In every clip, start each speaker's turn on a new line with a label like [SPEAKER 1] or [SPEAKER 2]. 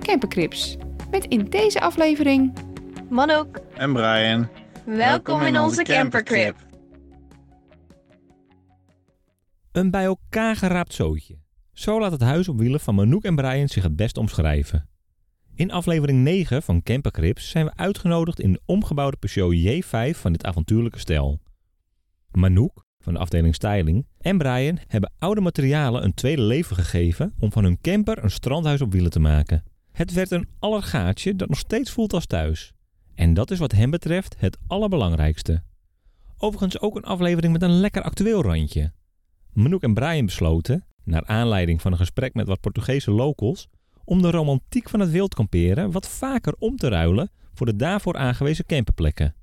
[SPEAKER 1] Campercrips. Met in deze aflevering
[SPEAKER 2] Manok,
[SPEAKER 3] En Brian.
[SPEAKER 2] welkom, in onze campercrib.
[SPEAKER 4] Een bij elkaar geraapt zootje. Zo laat het huis op wielen van Manouk en Brian zich het best omschrijven. In aflevering 9 van Campercrips zijn we uitgenodigd in de omgebouwde Peugeot J5 van dit avontuurlijke stel. Manouk van de afdeling Styling en Brian hebben oude materialen een tweede leven gegeven om van hun camper een strandhuis op wielen te maken. Het werd een allergaatje dat nog steeds voelt als thuis. En dat is wat hen betreft het allerbelangrijkste. Overigens ook een aflevering met een lekker actueel randje. Manouk en Brian besloten, naar aanleiding van een gesprek met wat Portugese locals, om de romantiek van het wildkamperen wat vaker om te ruilen voor de daarvoor aangewezen camperplekken.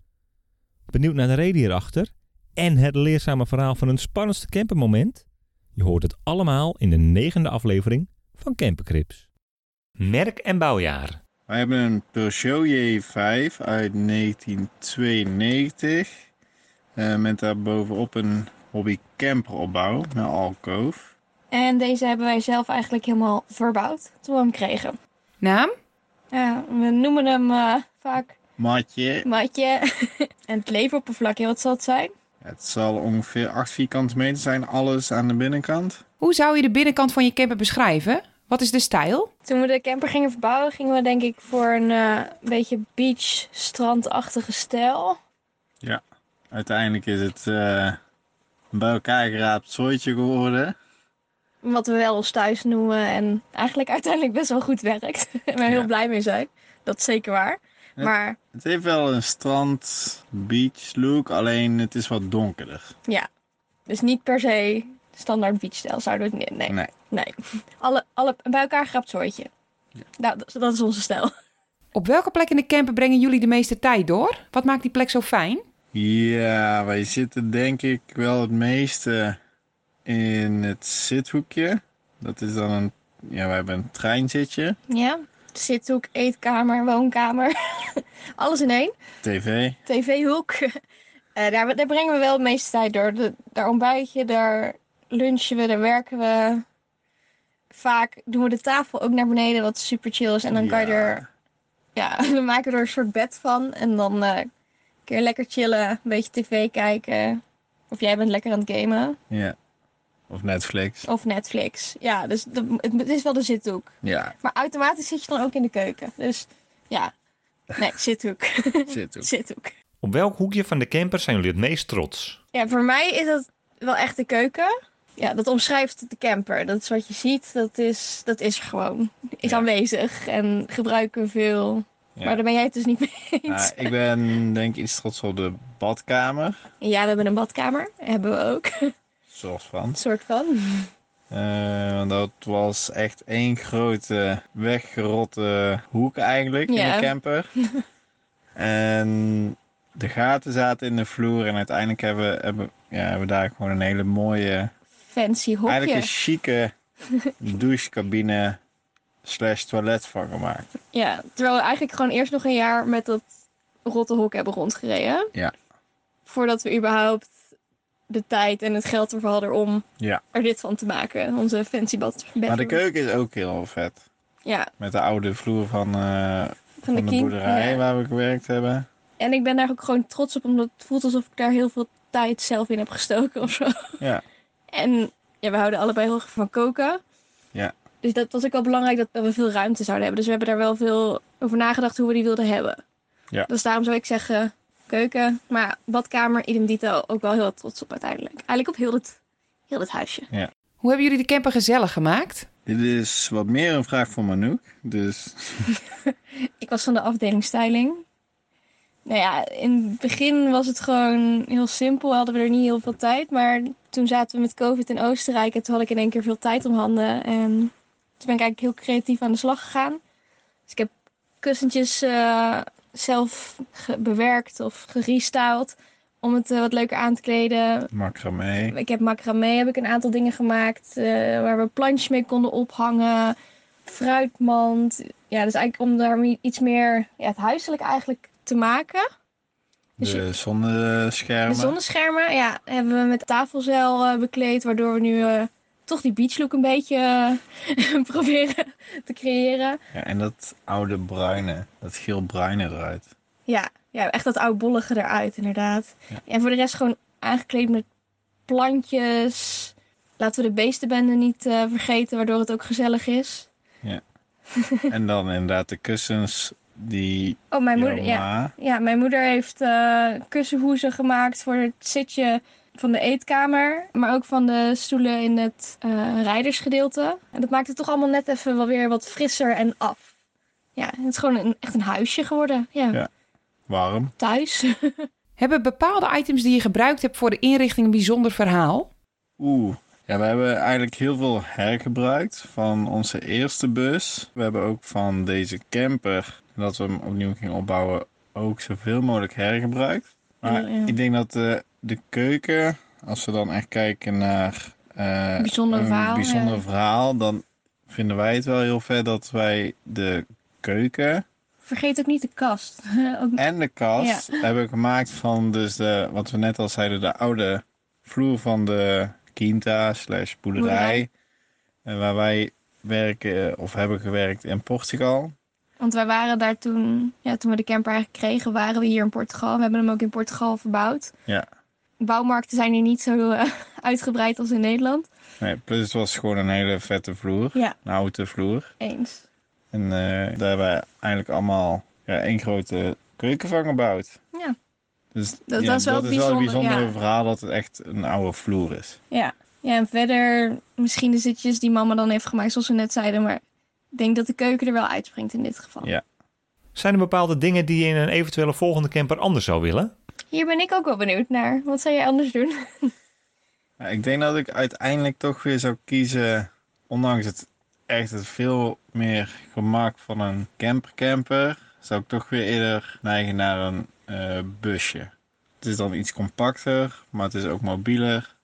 [SPEAKER 4] Benieuwd naar de reden hierachter en het leerzame verhaal van hun spannendste campermoment? Je hoort het allemaal in de negende aflevering van Campercrips. Merk en bouwjaar.
[SPEAKER 3] Wij hebben een Peugeot J5 uit 1992. eh, met daarbovenop een hobby camperopbouw met alkoof.
[SPEAKER 2] En deze hebben wij zelf eigenlijk helemaal verbouwd toen we hem kregen.
[SPEAKER 1] naam.
[SPEAKER 2] Ja, we noemen hem eh, vaak
[SPEAKER 3] Matje,
[SPEAKER 2] matje. en het leveroppervlakje, wat zal het zijn?
[SPEAKER 3] het zal ongeveer 8 vierkante meter zijn, alles aan de binnenkant.
[SPEAKER 1] Hoe zou je de binnenkant van je camper beschrijven? Wat is de stijl?
[SPEAKER 2] Toen we de camper gingen verbouwen, gingen we denk ik voor een eh, beetje beach, strandachtige stijl.
[SPEAKER 3] Uiteindelijk is het eh, een bij elkaar geraapt zooitje geworden.
[SPEAKER 2] Wat we wel ons thuis noemen en eigenlijk uiteindelijk best wel goed werkt. en we heel
[SPEAKER 3] Ja.
[SPEAKER 2] blij mee zijn. Dat is zeker waar.
[SPEAKER 3] Ja.
[SPEAKER 2] Maar
[SPEAKER 3] Het heeft wel een strand, beach look, alleen het is wat donkerder.
[SPEAKER 2] Dus niet per se standaard beachstijl zouden we het niet. Nee.
[SPEAKER 3] Nee.
[SPEAKER 2] nee. Alle, alle bij elkaar grapt zooitje. Nou, dat, dat is onze stijl.
[SPEAKER 1] Op welke plek in de camper brengen jullie de meeste tijd door? Wat maakt die plek zo fijn?
[SPEAKER 3] Ja, wij zitten denk ik wel het meeste in het zithoekje. Dat is dan een, ja, we hebben een treinzitje,
[SPEAKER 2] Ja. Zithoek, eetkamer, woonkamer. Alles in één.
[SPEAKER 3] tv.
[SPEAKER 2] TV-hoek. Eh, daar, daar brengen we wel de meeste tijd door. De, daar ontbijtje, daar lunchen we, daar werken we. Vaak doen we de tafel ook naar beneden, wat super chill is. En dan kan je
[SPEAKER 3] Ja.
[SPEAKER 2] er Ja, we maken er een soort bed van. En dan eh, kun je lekker chillen, een beetje tv kijken. Of jij bent lekker aan het gamen.
[SPEAKER 3] Ja. Of Netflix.
[SPEAKER 2] Of Netflix. Ja, dus de- het, het is wel de zithoek.
[SPEAKER 3] Ja,
[SPEAKER 2] Maar automatisch zit je dan ook in de keuken. Dus ja, nee, zithoek.
[SPEAKER 3] zithoek.
[SPEAKER 2] zithoek.
[SPEAKER 4] Op welk hoekje van de camper zijn jullie het meest trots?
[SPEAKER 2] Ja, voor mij is dat wel echt de keuken. Ja, dat omschrijft de camper. Dat is wat je ziet. Dat is, dat is er gewoon. Is
[SPEAKER 3] Ja.
[SPEAKER 2] aanwezig en gebruiken we veel.
[SPEAKER 3] Ja.
[SPEAKER 2] Maar daar ben jij het dus niet mee eens.
[SPEAKER 3] Nou, ik ben denk ik iets trots op de badkamer.
[SPEAKER 2] Ja, we hebben een badkamer. Hebben we ook.
[SPEAKER 3] Soort van.
[SPEAKER 2] Een soort van.
[SPEAKER 3] Eh, want dat was echt één grote weggerotte hoek eigenlijk in
[SPEAKER 2] Ja.
[SPEAKER 3] de camper. en de gaten zaten in de vloer en uiteindelijk hebben we hebben, ja, hebben we daar gewoon een hele mooie,
[SPEAKER 2] Fancy hokje.
[SPEAKER 3] eigenlijk een chique douchecabine slash toilet van gemaakt.
[SPEAKER 2] Ja, terwijl we eigenlijk gewoon eerst nog een jaar met dat rotte hok hebben rondgereden.
[SPEAKER 3] Ja.
[SPEAKER 2] Voordat we überhaupt de tijd en het geld ervoor hadden om
[SPEAKER 3] Ja.
[SPEAKER 2] er dit van te maken. Onze fancy bad bedroom.
[SPEAKER 3] Maar de keuken is ook heel vet.
[SPEAKER 2] Ja,
[SPEAKER 3] Met de oude vloer van, eh,
[SPEAKER 2] van,
[SPEAKER 3] van de,
[SPEAKER 2] de, kin-
[SPEAKER 3] boerderij
[SPEAKER 2] ja.
[SPEAKER 3] waar we gewerkt hebben.
[SPEAKER 2] En ik ben daar ook gewoon trots op, omdat het voelt alsof ik daar heel veel tijd zelf in heb gestoken of zo.
[SPEAKER 3] Ja.
[SPEAKER 2] En ja, we houden allebei heel erg van koken.
[SPEAKER 3] Ja.
[SPEAKER 2] Dus dat was ook wel belangrijk dat we veel ruimte zouden hebben. Dus we hebben daar wel veel over nagedacht hoe we die wilden hebben.
[SPEAKER 3] Ja.
[SPEAKER 2] Dus daarom zou ik zeggen keuken, maar badkamer, idem dito, ook wel heel trots op uiteindelijk. Eigenlijk op heel het, heel het huisje.
[SPEAKER 1] Hoe hebben jullie de camper gezellig gemaakt?
[SPEAKER 3] Dit is wat meer een vraag voor Manouk. Dus
[SPEAKER 2] Ik was van de afdeling styling. Nou ja, in het begin was het gewoon heel simpel, hadden we er niet heel veel tijd. Maar toen zaten we met COVID in Oostenrijk en toen had ik in één keer veel tijd om handen. En toen ben ik eigenlijk heel creatief aan de slag gegaan. Dus ik heb kussentjes eh, zelf ge- bewerkt of gerestyled om het eh, wat leuker aan te kleden.
[SPEAKER 3] Macramee.
[SPEAKER 2] Ik heb macramé, heb ik een aantal dingen gemaakt eh, waar we plantjes mee konden ophangen. Fruitmand. Ja, dus eigenlijk om daarmee iets meer ja, het huiselijk eigenlijk te maken. Dus
[SPEAKER 3] De zonneschermen.
[SPEAKER 2] De zonneschermen, ja, hebben we met tafelzeil eh, bekleed, waardoor we nu eh, toch die beachlook een beetje eh, proberen te creëren.
[SPEAKER 3] Ja, en dat oude bruine, dat geel-bruine eruit.
[SPEAKER 2] Ja, ja, echt dat oudbollige eruit, inderdaad.
[SPEAKER 3] Ja.
[SPEAKER 2] En voor de rest gewoon aangekleed met plantjes. Laten we de beestenbende niet eh, vergeten, waardoor het ook gezellig is.
[SPEAKER 3] en dan inderdaad de kussens die
[SPEAKER 2] Oh, mijn moeder,
[SPEAKER 3] jouw
[SPEAKER 2] ja.
[SPEAKER 3] ma-
[SPEAKER 2] Ja, mijn moeder heeft eh kussenhoezen gemaakt voor het zitje van de eetkamer. Maar ook van de stoelen in het eh, rijdersgedeelte. En dat maakt het toch allemaal net even wel weer wat frisser en af. Ja, het is gewoon een, echt een huisje geworden. Ja,
[SPEAKER 3] Ja. warm.
[SPEAKER 2] thuis.
[SPEAKER 1] Hebben bepaalde items die je gebruikt hebt voor de inrichting een bijzonder verhaal?
[SPEAKER 3] Oeh. Ja, we hebben eigenlijk heel veel hergebruikt van onze eerste bus. We hebben ook van deze camper, dat we hem opnieuw gingen opbouwen, ook zoveel mogelijk hergebruikt. Maar
[SPEAKER 2] Ja, ja.
[SPEAKER 3] ik denk dat de, de keuken, als we dan echt kijken naar eh,
[SPEAKER 2] Bijzonder
[SPEAKER 3] een
[SPEAKER 2] verhaal,
[SPEAKER 3] bijzonder
[SPEAKER 2] ja.
[SPEAKER 3] verhaal, dan vinden wij het wel heel vet dat wij de keuken
[SPEAKER 2] Vergeet ook niet de kast. Ook-
[SPEAKER 3] en de kast hebben we gemaakt van dus de, wat we net al zeiden, de oude vloer van de quinta slash boerderij.
[SPEAKER 2] Boerderij.
[SPEAKER 3] En waar wij werken eh, of hebben gewerkt in Portugal.
[SPEAKER 2] Want wij waren daar toen, ja, toen we de camper eigenlijk kregen, waren we hier in Portugal. We hebben hem ook in Portugal verbouwd.
[SPEAKER 3] Ja.
[SPEAKER 2] Bouwmarkten zijn hier niet zo eh, uitgebreid als in Nederland.
[SPEAKER 3] Nee, plus het was gewoon een hele vette vloer.
[SPEAKER 2] Ja.
[SPEAKER 3] Een houten vloer.
[SPEAKER 2] Eens.
[SPEAKER 3] En eh, daar hebben we eigenlijk allemaal ja, één grote keuken van gebouwd.
[SPEAKER 2] Ja.
[SPEAKER 3] Dus
[SPEAKER 2] Dat
[SPEAKER 3] ja,
[SPEAKER 2] was wel
[SPEAKER 3] dat is wel een
[SPEAKER 2] bijzonder,
[SPEAKER 3] bijzondere
[SPEAKER 2] ja.
[SPEAKER 3] verhaal dat het echt een oude vloer is.
[SPEAKER 2] Ja. ja, en verder misschien de zitjes die mama dan heeft gemaakt, zoals we net zeiden. Maar ik denk dat de keuken er wel uitspringt in dit geval.
[SPEAKER 3] Ja.
[SPEAKER 4] Zijn er bepaalde dingen die je in een eventuele volgende camper anders zou willen?
[SPEAKER 2] Hier ben ik ook wel benieuwd naar. Wat zou jij anders doen?
[SPEAKER 3] Ja, ik denk dat ik uiteindelijk toch weer zou kiezen, ondanks het echt het veel meer gemak van een campercamper, zou ik toch weer eerder neigen naar een eh, busje. Het is dan iets compacter, maar het is ook mobieler.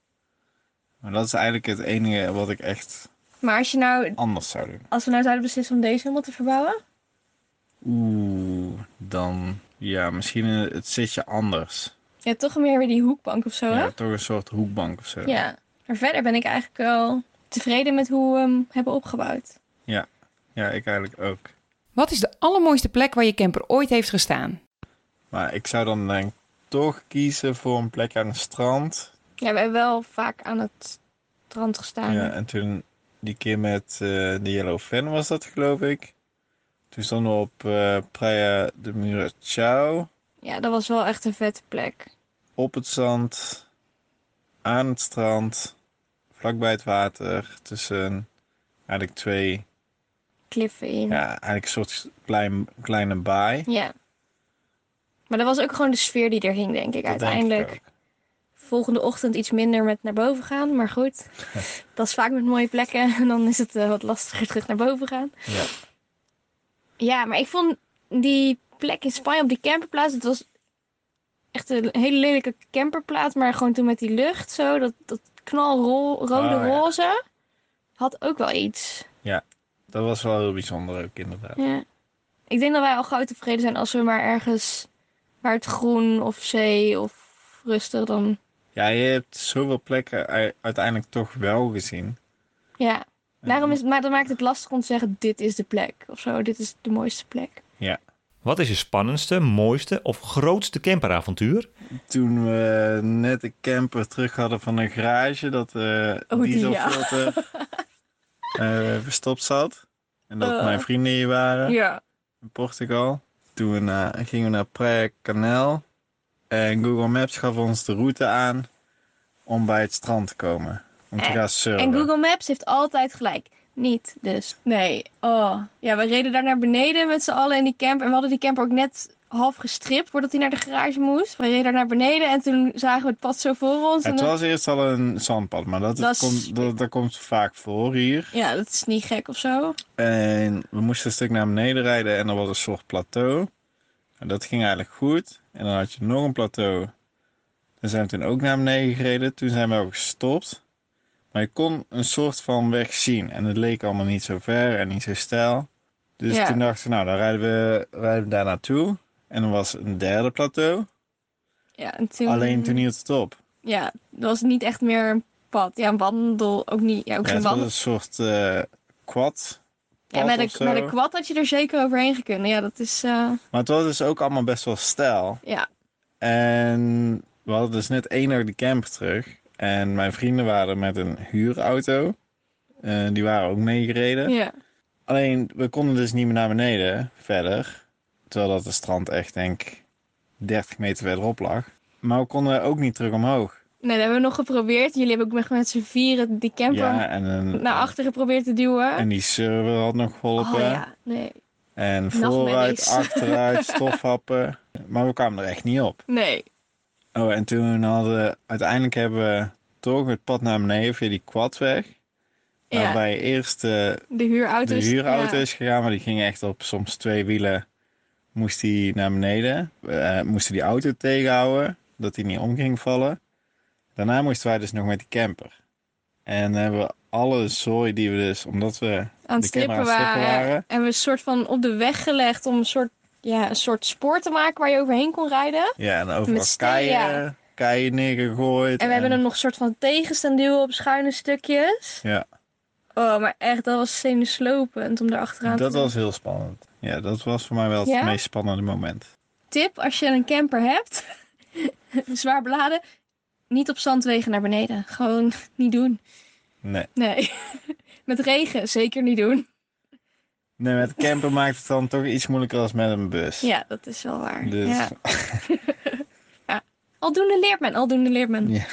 [SPEAKER 3] Maar dat is eigenlijk het enige wat ik echt
[SPEAKER 2] Maar als, je nou,
[SPEAKER 3] anders zou doen.
[SPEAKER 2] als we nou zouden beslissen om deze helemaal te verbouwen?
[SPEAKER 3] Oeh, dan ja, misschien eh, het zitje anders.
[SPEAKER 2] Ja, toch meer weer die hoekbank of zo, hè?
[SPEAKER 3] Ja, toch een soort hoekbank of zo.
[SPEAKER 2] Ja. Maar verder ben ik eigenlijk wel tevreden met hoe we hem hebben opgebouwd.
[SPEAKER 3] ja, ik eigenlijk ook.
[SPEAKER 1] Wat is de allermooiste plek waar je camper ooit heeft gestaan?
[SPEAKER 3] Maar ik zou dan denk ik toch kiezen voor een plek aan het strand.
[SPEAKER 2] Ja, we hebben wel vaak aan het strand gestaan.
[SPEAKER 3] Ja, en toen die keer met eh, de Yellow Fan was dat geloof ik. Toen stonden we op eh Praia de Murachao,
[SPEAKER 2] ja, dat was wel echt een vette plek.
[SPEAKER 3] op het zand, aan het strand, vlakbij het water, tussen eigenlijk twee,
[SPEAKER 2] Kliffen in.
[SPEAKER 3] ja, eigenlijk een soort klein, kleine baai.
[SPEAKER 2] Ja. Maar dat was ook gewoon de sfeer die er hing, denk ik.
[SPEAKER 3] Dat denk ik
[SPEAKER 2] Uiteindelijk
[SPEAKER 3] ook.
[SPEAKER 2] volgende ochtend iets minder met naar boven gaan. Maar goed, dat is vaak met mooie plekken. En dan is het eh, wat lastiger terug naar boven gaan.
[SPEAKER 3] Ja.
[SPEAKER 2] Ja, maar ik vond die plek in Spanje op die camperplaats... Het was echt een hele lelijke camperplaats. Maar gewoon toen met die lucht zo, dat, dat knalrode
[SPEAKER 3] Oh, ja.
[SPEAKER 2] roze... Had ook wel iets.
[SPEAKER 3] Dat was wel heel bijzonder ook inderdaad.
[SPEAKER 2] Ja. Ik denk dat wij al gauw tevreden zijn als we maar ergens waar het groen of zee of rustig dan.
[SPEAKER 3] Ja, je hebt zoveel plekken u- uiteindelijk toch wel gezien.
[SPEAKER 2] Ja. Daarom is, maar dat maakt het lastig om te zeggen: dit is de plek of zo, dit is de mooiste plek.
[SPEAKER 4] Wat is je spannendste, mooiste of grootste camperavontuur?
[SPEAKER 3] Toen we net de camper terug hadden van de garage, dat eh
[SPEAKER 2] Oh, die,
[SPEAKER 3] dieselfilter eh, verstopt zat. En dat
[SPEAKER 2] Eh.
[SPEAKER 3] mijn vrienden hier waren
[SPEAKER 2] Ja.
[SPEAKER 3] in Portugal. Toen we naar- gingen we naar Praia Canal. En Google Maps gaf ons de route aan om bij het strand te komen. Om te
[SPEAKER 2] En-
[SPEAKER 3] gaan surfen.
[SPEAKER 2] En Google Maps heeft altijd gelijk. Niet dus. Nee. Oh. Ja, we reden daar naar beneden met z'n allen in die camper. En we hadden die camper ook net half gestript voordat hij naar de garage moest. We reden naar beneden en toen zagen we het pad zo voor ons. en
[SPEAKER 3] Het
[SPEAKER 2] dan-
[SPEAKER 3] was eerst al een zandpad, maar dat,
[SPEAKER 2] Dat is-
[SPEAKER 3] komt, dat, dat komt vaak voor hier.
[SPEAKER 2] Ja, dat is niet gek of zo.
[SPEAKER 3] En we moesten een stuk naar beneden rijden en er was een soort plateau. En dat ging eigenlijk goed. En dan had je nog een plateau. Daar zijn we toen ook naar beneden gereden. Toen zijn we ook gestopt. Maar je kon een soort van weg zien. En het leek allemaal niet zo ver en niet zo stijl. Dus
[SPEAKER 2] Ja.
[SPEAKER 3] toen dachten we, nou, dan rijden we, rijden we daar naartoe. En er was een derde plateau.
[SPEAKER 2] Ja, en toen...
[SPEAKER 3] Alleen toen hield het op.
[SPEAKER 2] Ja, dat was niet echt meer een pad. Ja, een wandel ook niet. Ja, ook
[SPEAKER 3] Ja,
[SPEAKER 2] geen
[SPEAKER 3] het was
[SPEAKER 2] wandel.
[SPEAKER 3] een soort eh quad.
[SPEAKER 2] Ja, met,
[SPEAKER 3] pad of
[SPEAKER 2] een, met een
[SPEAKER 3] zo.
[SPEAKER 2] kwad had je er zeker overheen gekund. Ja, dat is... eh,
[SPEAKER 3] Maar het was dus ook allemaal best wel stijl.
[SPEAKER 2] ja.
[SPEAKER 3] En we hadden dus net één dag de camper terug. En mijn vrienden waren met een huurauto. Eh, die waren ook meegereden.
[SPEAKER 2] ja.
[SPEAKER 3] Alleen, we konden dus niet meer naar beneden verder. Terwijl dat het strand echt, denk ik, 30 meter verderop lag. Maar we konden ook niet terug omhoog.
[SPEAKER 2] Nee, dat hebben we nog geprobeerd. Jullie hebben ook met, met z'n vieren die camper
[SPEAKER 3] Ja, en, een,
[SPEAKER 2] naar achter geprobeerd te duwen.
[SPEAKER 3] en die server had nog
[SPEAKER 2] oh
[SPEAKER 3] geholpen.
[SPEAKER 2] ja, nee.
[SPEAKER 3] En
[SPEAKER 2] Nachtmerries.
[SPEAKER 3] vooruit, achteruit, stofhappen. Maar we kwamen er echt niet op.
[SPEAKER 2] Nee.
[SPEAKER 3] Oh, en toen hadden uiteindelijk hebben we toch het pad naar beneden via die quadweg.
[SPEAKER 2] Ja,
[SPEAKER 3] Waarbij eerst eh,
[SPEAKER 2] de huurauto
[SPEAKER 3] Nou, de
[SPEAKER 2] is-
[SPEAKER 3] huurauto
[SPEAKER 2] ja.
[SPEAKER 3] is gegaan, maar die ging echt op soms twee wielen. Moest die naar beneden, eh, moesten die auto tegenhouden, dat die niet om ging vallen. Daarna moesten wij dus nog met die camper. En hebben we alle zooi die we dus, omdat we
[SPEAKER 2] aan het
[SPEAKER 3] de
[SPEAKER 2] strippen,
[SPEAKER 3] camera aan het strippen
[SPEAKER 2] waren.
[SPEAKER 3] waren.
[SPEAKER 2] En we een soort van op de weg gelegd om een soort, ja, een soort spoor te maken waar je overheen kon rijden.
[SPEAKER 3] ja, en overal
[SPEAKER 2] Met steen,
[SPEAKER 3] keien, keien neergegooid.
[SPEAKER 2] En we hebben hem nog een soort van tegenstanduw op schuine stukjes.
[SPEAKER 3] Ja.
[SPEAKER 2] Oh, maar echt, dat was zenuwslopend om erachteraan
[SPEAKER 3] Dat
[SPEAKER 2] te
[SPEAKER 3] was heel spannend. Ja, dat was voor mij wel het
[SPEAKER 2] Ja?
[SPEAKER 3] meest spannende moment.
[SPEAKER 2] Tip, als je een camper hebt, zwaar beladen, niet op zandwegen naar beneden. Gewoon niet doen.
[SPEAKER 3] Nee.
[SPEAKER 2] Nee. Met regen zeker niet doen.
[SPEAKER 3] nee, met camper maakt het dan toch iets moeilijker als met een bus.
[SPEAKER 2] Ja, dat is wel waar.
[SPEAKER 3] Dus
[SPEAKER 2] Ja. Aldoende leert men, aldoende leert men.
[SPEAKER 3] Ja.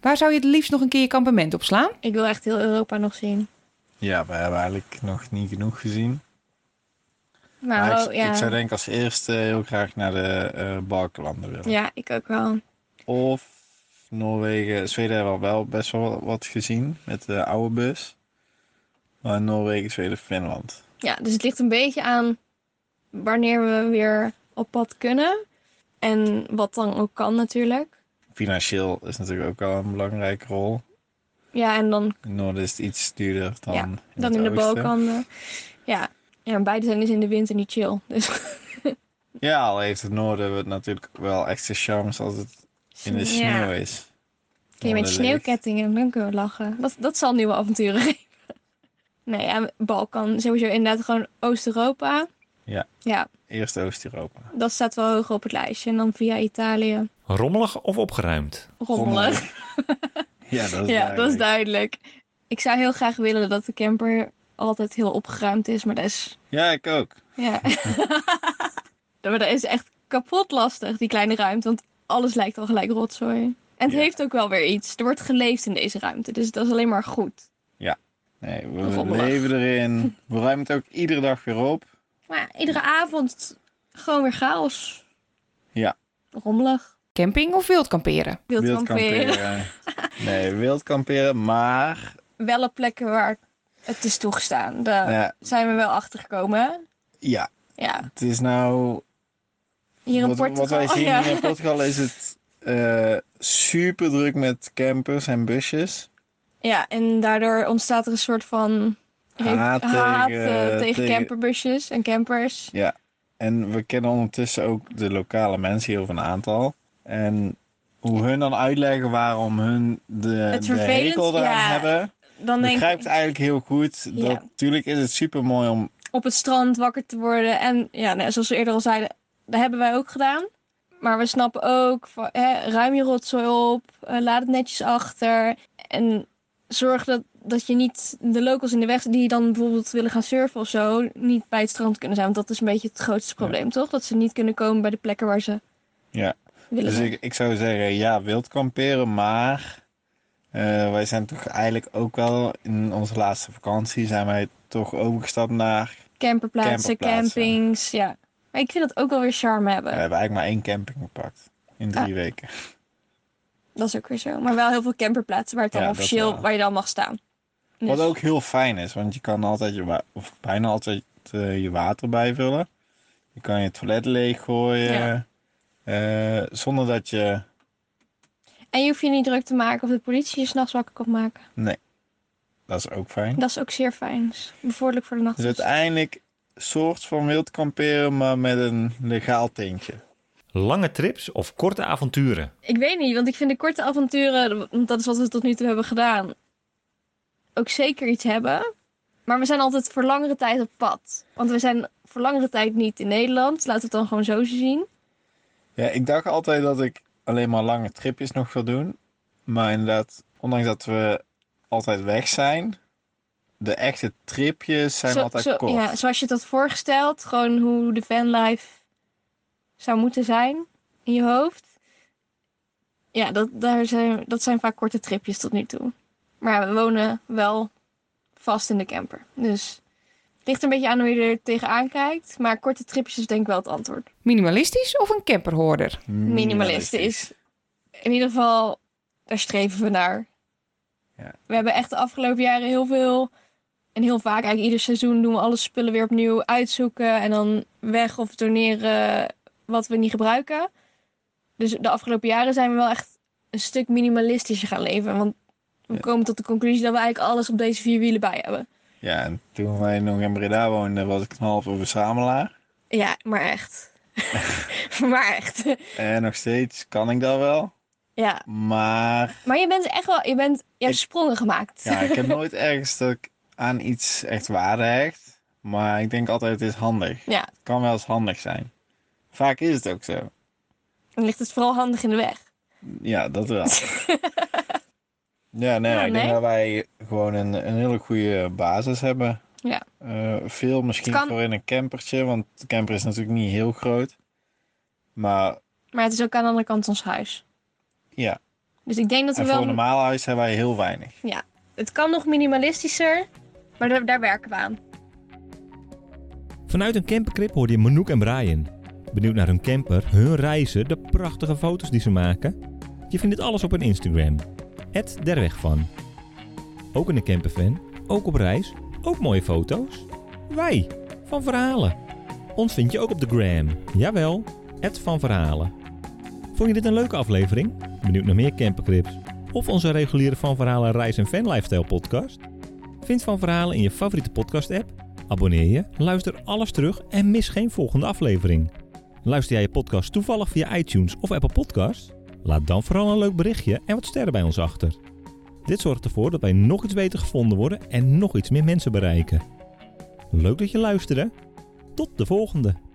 [SPEAKER 1] Waar zou je het liefst nog een keer je kampement op slaan?
[SPEAKER 2] Ik wil echt heel Europa nog zien.
[SPEAKER 3] ja, we hebben eigenlijk nog niet genoeg gezien.
[SPEAKER 2] Maar
[SPEAKER 3] Maar
[SPEAKER 2] oh,
[SPEAKER 3] ik,
[SPEAKER 2] ja.
[SPEAKER 3] ik zou denk ik als eerste heel graag naar de eh Balkanlanden willen.
[SPEAKER 2] ja, ik ook wel.
[SPEAKER 3] Of Noorwegen. Zweden hebben we wel best wel wat- wat gezien met de oude bus. Maar Noorwegen, Zweden, Finland.
[SPEAKER 2] Ja, dus het ligt een beetje aan wanneer we weer op pad kunnen. En wat dan ook kan natuurlijk.
[SPEAKER 3] Financieel is natuurlijk ook wel een belangrijke rol.
[SPEAKER 2] Ja, en dan
[SPEAKER 3] In het Noorden is het iets duurder dan
[SPEAKER 2] Ja,
[SPEAKER 3] in
[SPEAKER 2] Dan
[SPEAKER 3] het
[SPEAKER 2] in de
[SPEAKER 3] oosten.
[SPEAKER 2] Balkan. Ja. ja, en beide zijn dus in de winter niet chill. Dus,
[SPEAKER 3] Ja, al heeft het Noorden natuurlijk wel echt zijn charmes als het in de sneeuw
[SPEAKER 2] Ja.
[SPEAKER 3] is.
[SPEAKER 2] Kun je met
[SPEAKER 3] Noorden leeg.
[SPEAKER 2] sneeuwkettingen, dan kunnen we lachen. Dat, dat zal nieuwe avonturen geven. Nee, ja, Balkan. Sowieso inderdaad gewoon Oost-Europa.
[SPEAKER 3] Ja.
[SPEAKER 2] Ja,
[SPEAKER 3] Eerst Oost-Europa.
[SPEAKER 2] dat staat wel hoog op het lijstje. En dan via Italië.
[SPEAKER 4] Rommelig of opgeruimd?
[SPEAKER 2] Rommelig.
[SPEAKER 3] Ja, dat is
[SPEAKER 2] Ja, dat is
[SPEAKER 3] duidelijk.
[SPEAKER 2] duidelijk. Ik zou heel graag willen dat de camper altijd heel opgeruimd is. Maar dat is...
[SPEAKER 3] Ja, ik ook.
[SPEAKER 2] Ja. maar dat is echt kapot lastig, die kleine ruimte. Want alles lijkt al gelijk rotzooi. En het
[SPEAKER 3] Ja.
[SPEAKER 2] heeft ook wel weer iets. Er wordt geleefd in deze ruimte. Dus dat is alleen maar goed.
[SPEAKER 3] Nee, we
[SPEAKER 2] Rommelig.
[SPEAKER 3] leven erin. We ruimen het ook iedere dag weer op.
[SPEAKER 2] Maar ja, iedere avond gewoon weer chaos.
[SPEAKER 3] Ja.
[SPEAKER 2] Rommelig.
[SPEAKER 1] Camping of wild kamperen?
[SPEAKER 2] Wild kamperen.
[SPEAKER 3] Nee, wild kamperen, maar
[SPEAKER 2] Wel op plekken waar het is toegestaan. Daar
[SPEAKER 3] nou ja,
[SPEAKER 2] zijn we wel achter gekomen.
[SPEAKER 3] ja,
[SPEAKER 2] Ja.
[SPEAKER 3] het is nou...
[SPEAKER 2] Hier in
[SPEAKER 3] wat,
[SPEAKER 2] Portugal.
[SPEAKER 3] wat wij zien
[SPEAKER 2] ja.
[SPEAKER 3] hier in Portugal is het eh, super druk met campers en busjes.
[SPEAKER 2] Ja, en daardoor ontstaat er een soort van
[SPEAKER 3] Haat
[SPEAKER 2] haat, haat, eh, tegen,
[SPEAKER 3] tegen- tegen-
[SPEAKER 2] camperbusjes en campers.
[SPEAKER 3] En we kennen ondertussen ook de lokale mensen hier, of een aantal. En hoe hun dan uitleggen waarom hun de,
[SPEAKER 2] Het
[SPEAKER 3] de hekel
[SPEAKER 2] vervelend-
[SPEAKER 3] eraan
[SPEAKER 2] ja,
[SPEAKER 3] hebben...
[SPEAKER 2] Dan denk ik,
[SPEAKER 3] begrijpt eigenlijk heel goed.
[SPEAKER 2] Ja.
[SPEAKER 3] Dat, Tuurlijk is het super mooi om
[SPEAKER 2] op het strand wakker te worden. En ja, nou, zoals we eerder al zeiden, dat hebben wij ook gedaan. Maar we snappen ook, van, hè, ruim je rotzooi op, eh, laat het netjes achter. En zorg dat, dat je niet de locals in de weg die dan bijvoorbeeld willen gaan surfen of zo, niet bij het strand kunnen zijn. Want dat is een beetje het grootste probleem, toch? Dat ze niet kunnen komen bij de plekken waar ze
[SPEAKER 3] Ja.
[SPEAKER 2] willen
[SPEAKER 3] Dus
[SPEAKER 2] zijn.
[SPEAKER 3] ik, ik zou zeggen, ja, wild kamperen, maar eh, wij zijn toch eigenlijk ook wel in onze laatste vakantie zijn wij toch overgestapt naar
[SPEAKER 2] Camperplaatsen,
[SPEAKER 3] Camperplaatsen.
[SPEAKER 2] campings, ja. Maar ik vind dat ook wel weer charme hebben.
[SPEAKER 3] We hebben eigenlijk maar één camping gepakt in drie
[SPEAKER 2] Ah.
[SPEAKER 3] weken.
[SPEAKER 2] Dat is ook weer zo. Maar wel heel veel camperplaatsen waar, het dan
[SPEAKER 3] Ja, dat
[SPEAKER 2] officieel,
[SPEAKER 3] wel.
[SPEAKER 2] waar je dan mag staan.
[SPEAKER 3] Wat
[SPEAKER 2] Dus-
[SPEAKER 3] ook heel fijn is, want je kan altijd je, wa- of bijna altijd eh, je water bijvullen. Je kan je toilet leeggooien.
[SPEAKER 2] Ja.
[SPEAKER 3] eh, zonder dat je.
[SPEAKER 2] En je hoeft je niet druk te maken of de politie je s'nachts wakker kan maken.
[SPEAKER 3] Dat is ook fijn.
[SPEAKER 2] Dat is ook zeer fijn. Dus Bevorderlijk voor de nacht.
[SPEAKER 3] Dus uiteindelijk soort van wild kamperen, maar met een legaal tintje.
[SPEAKER 5] Lange trips of korte avonturen?
[SPEAKER 2] Ik weet niet, want ik vind de korte avonturen, want dat is wat we tot nu toe hebben gedaan, ook zeker iets hebben. Maar we zijn altijd voor langere tijd op pad. Want we zijn voor langere tijd niet in Nederland. Laten we het dan gewoon zo zien.
[SPEAKER 3] Ja, ik dacht altijd dat ik alleen maar lange tripjes nog wil doen. Maar inderdaad, ondanks dat we altijd weg zijn, de echte tripjes zijn
[SPEAKER 2] Zo-
[SPEAKER 3] altijd
[SPEAKER 2] zo-
[SPEAKER 3] kort.
[SPEAKER 2] Ja, zoals je het had voorgesteld. Gewoon hoe de fanlife zou moeten zijn in je hoofd. Ja, dat, daar zijn, dat zijn vaak korte tripjes tot nu toe. Maar ja, we wonen wel vast in de camper. Dus het ligt een beetje aan hoe je er tegenaan kijkt. Maar korte tripjes is denk ik wel het antwoord.
[SPEAKER 1] Minimalistisch of een camperhoorder?
[SPEAKER 2] Minimalistisch. In ieder geval, daar streven we naar.
[SPEAKER 3] Ja.
[SPEAKER 2] We hebben echt de afgelopen jaren heel veel en heel vaak, eigenlijk ieder seizoen, doen we alle spullen weer opnieuw uitzoeken en dan weg of doneren wat we niet gebruiken. Dus de afgelopen jaren zijn we wel echt een stuk minimalistischer gaan leven. Want we
[SPEAKER 3] Ja.
[SPEAKER 2] komen tot de conclusie dat we eigenlijk alles op deze vier wielen bij hebben.
[SPEAKER 3] Ja, en toen wij nog in Breda woonden, was ik een halve verzamelaar.
[SPEAKER 2] Ja, maar echt. maar echt.
[SPEAKER 3] En nog steeds kan ik dat wel.
[SPEAKER 2] Ja.
[SPEAKER 3] Maar
[SPEAKER 2] Maar je bent echt wel, je bent, je hebt
[SPEAKER 3] Ik-
[SPEAKER 2] sprongen gemaakt.
[SPEAKER 3] ja, ik heb nooit ergens dat ik aan iets echt waarde hecht. Maar ik denk altijd, het is handig.
[SPEAKER 2] Ja.
[SPEAKER 3] Het kan wel eens handig zijn. Vaak is het ook zo.
[SPEAKER 2] Dan ligt het vooral handig in de weg.
[SPEAKER 3] Ja, dat wel. ja, nee,
[SPEAKER 2] Ja,
[SPEAKER 3] ik denk
[SPEAKER 2] nee.
[SPEAKER 3] dat wij gewoon een, een hele goede basis hebben.
[SPEAKER 2] Ja.
[SPEAKER 3] Eh, veel misschien
[SPEAKER 2] Het kan-
[SPEAKER 3] voor in een campertje, want de camper is natuurlijk niet heel groot. Maar
[SPEAKER 2] Maar het is ook aan de andere kant ons huis.
[SPEAKER 3] ja,
[SPEAKER 2] Dus ik denk dat we
[SPEAKER 3] en voor een
[SPEAKER 2] wel...
[SPEAKER 3] normaal huis hebben wij heel weinig.
[SPEAKER 2] Het kan nog minimalistischer, maar daar, daar werken we aan.
[SPEAKER 4] Vanuit een campercrip hoorde je Manouk en Brian. Benieuwd naar hun camper, hun reizen, de prachtige foto's die ze maken? Je vindt dit alles op hun Instagram. Het derweg van. Ook een camperfan, ook op reis, ook mooie foto's. Wij, van Verhalen. Ons vind je ook op de gram. Jawel, het van Verhalen. Vond je dit een leuke aflevering? Benieuwd naar meer campercrips? Of onze reguliere Van Verhalen Reis en Fan Lifestyle podcast? Vind Van Verhalen in je favoriete podcast app Abonneer je, luister alles terug en mis geen volgende aflevering. Luister jij je podcast toevallig via iTunes of Apple Podcasts? Laat dan vooral een leuk berichtje en wat sterren bij ons achter. Dit zorgt ervoor dat wij nog iets beter gevonden worden en nog iets meer mensen bereiken. Leuk dat je luisterde. Tot de volgende!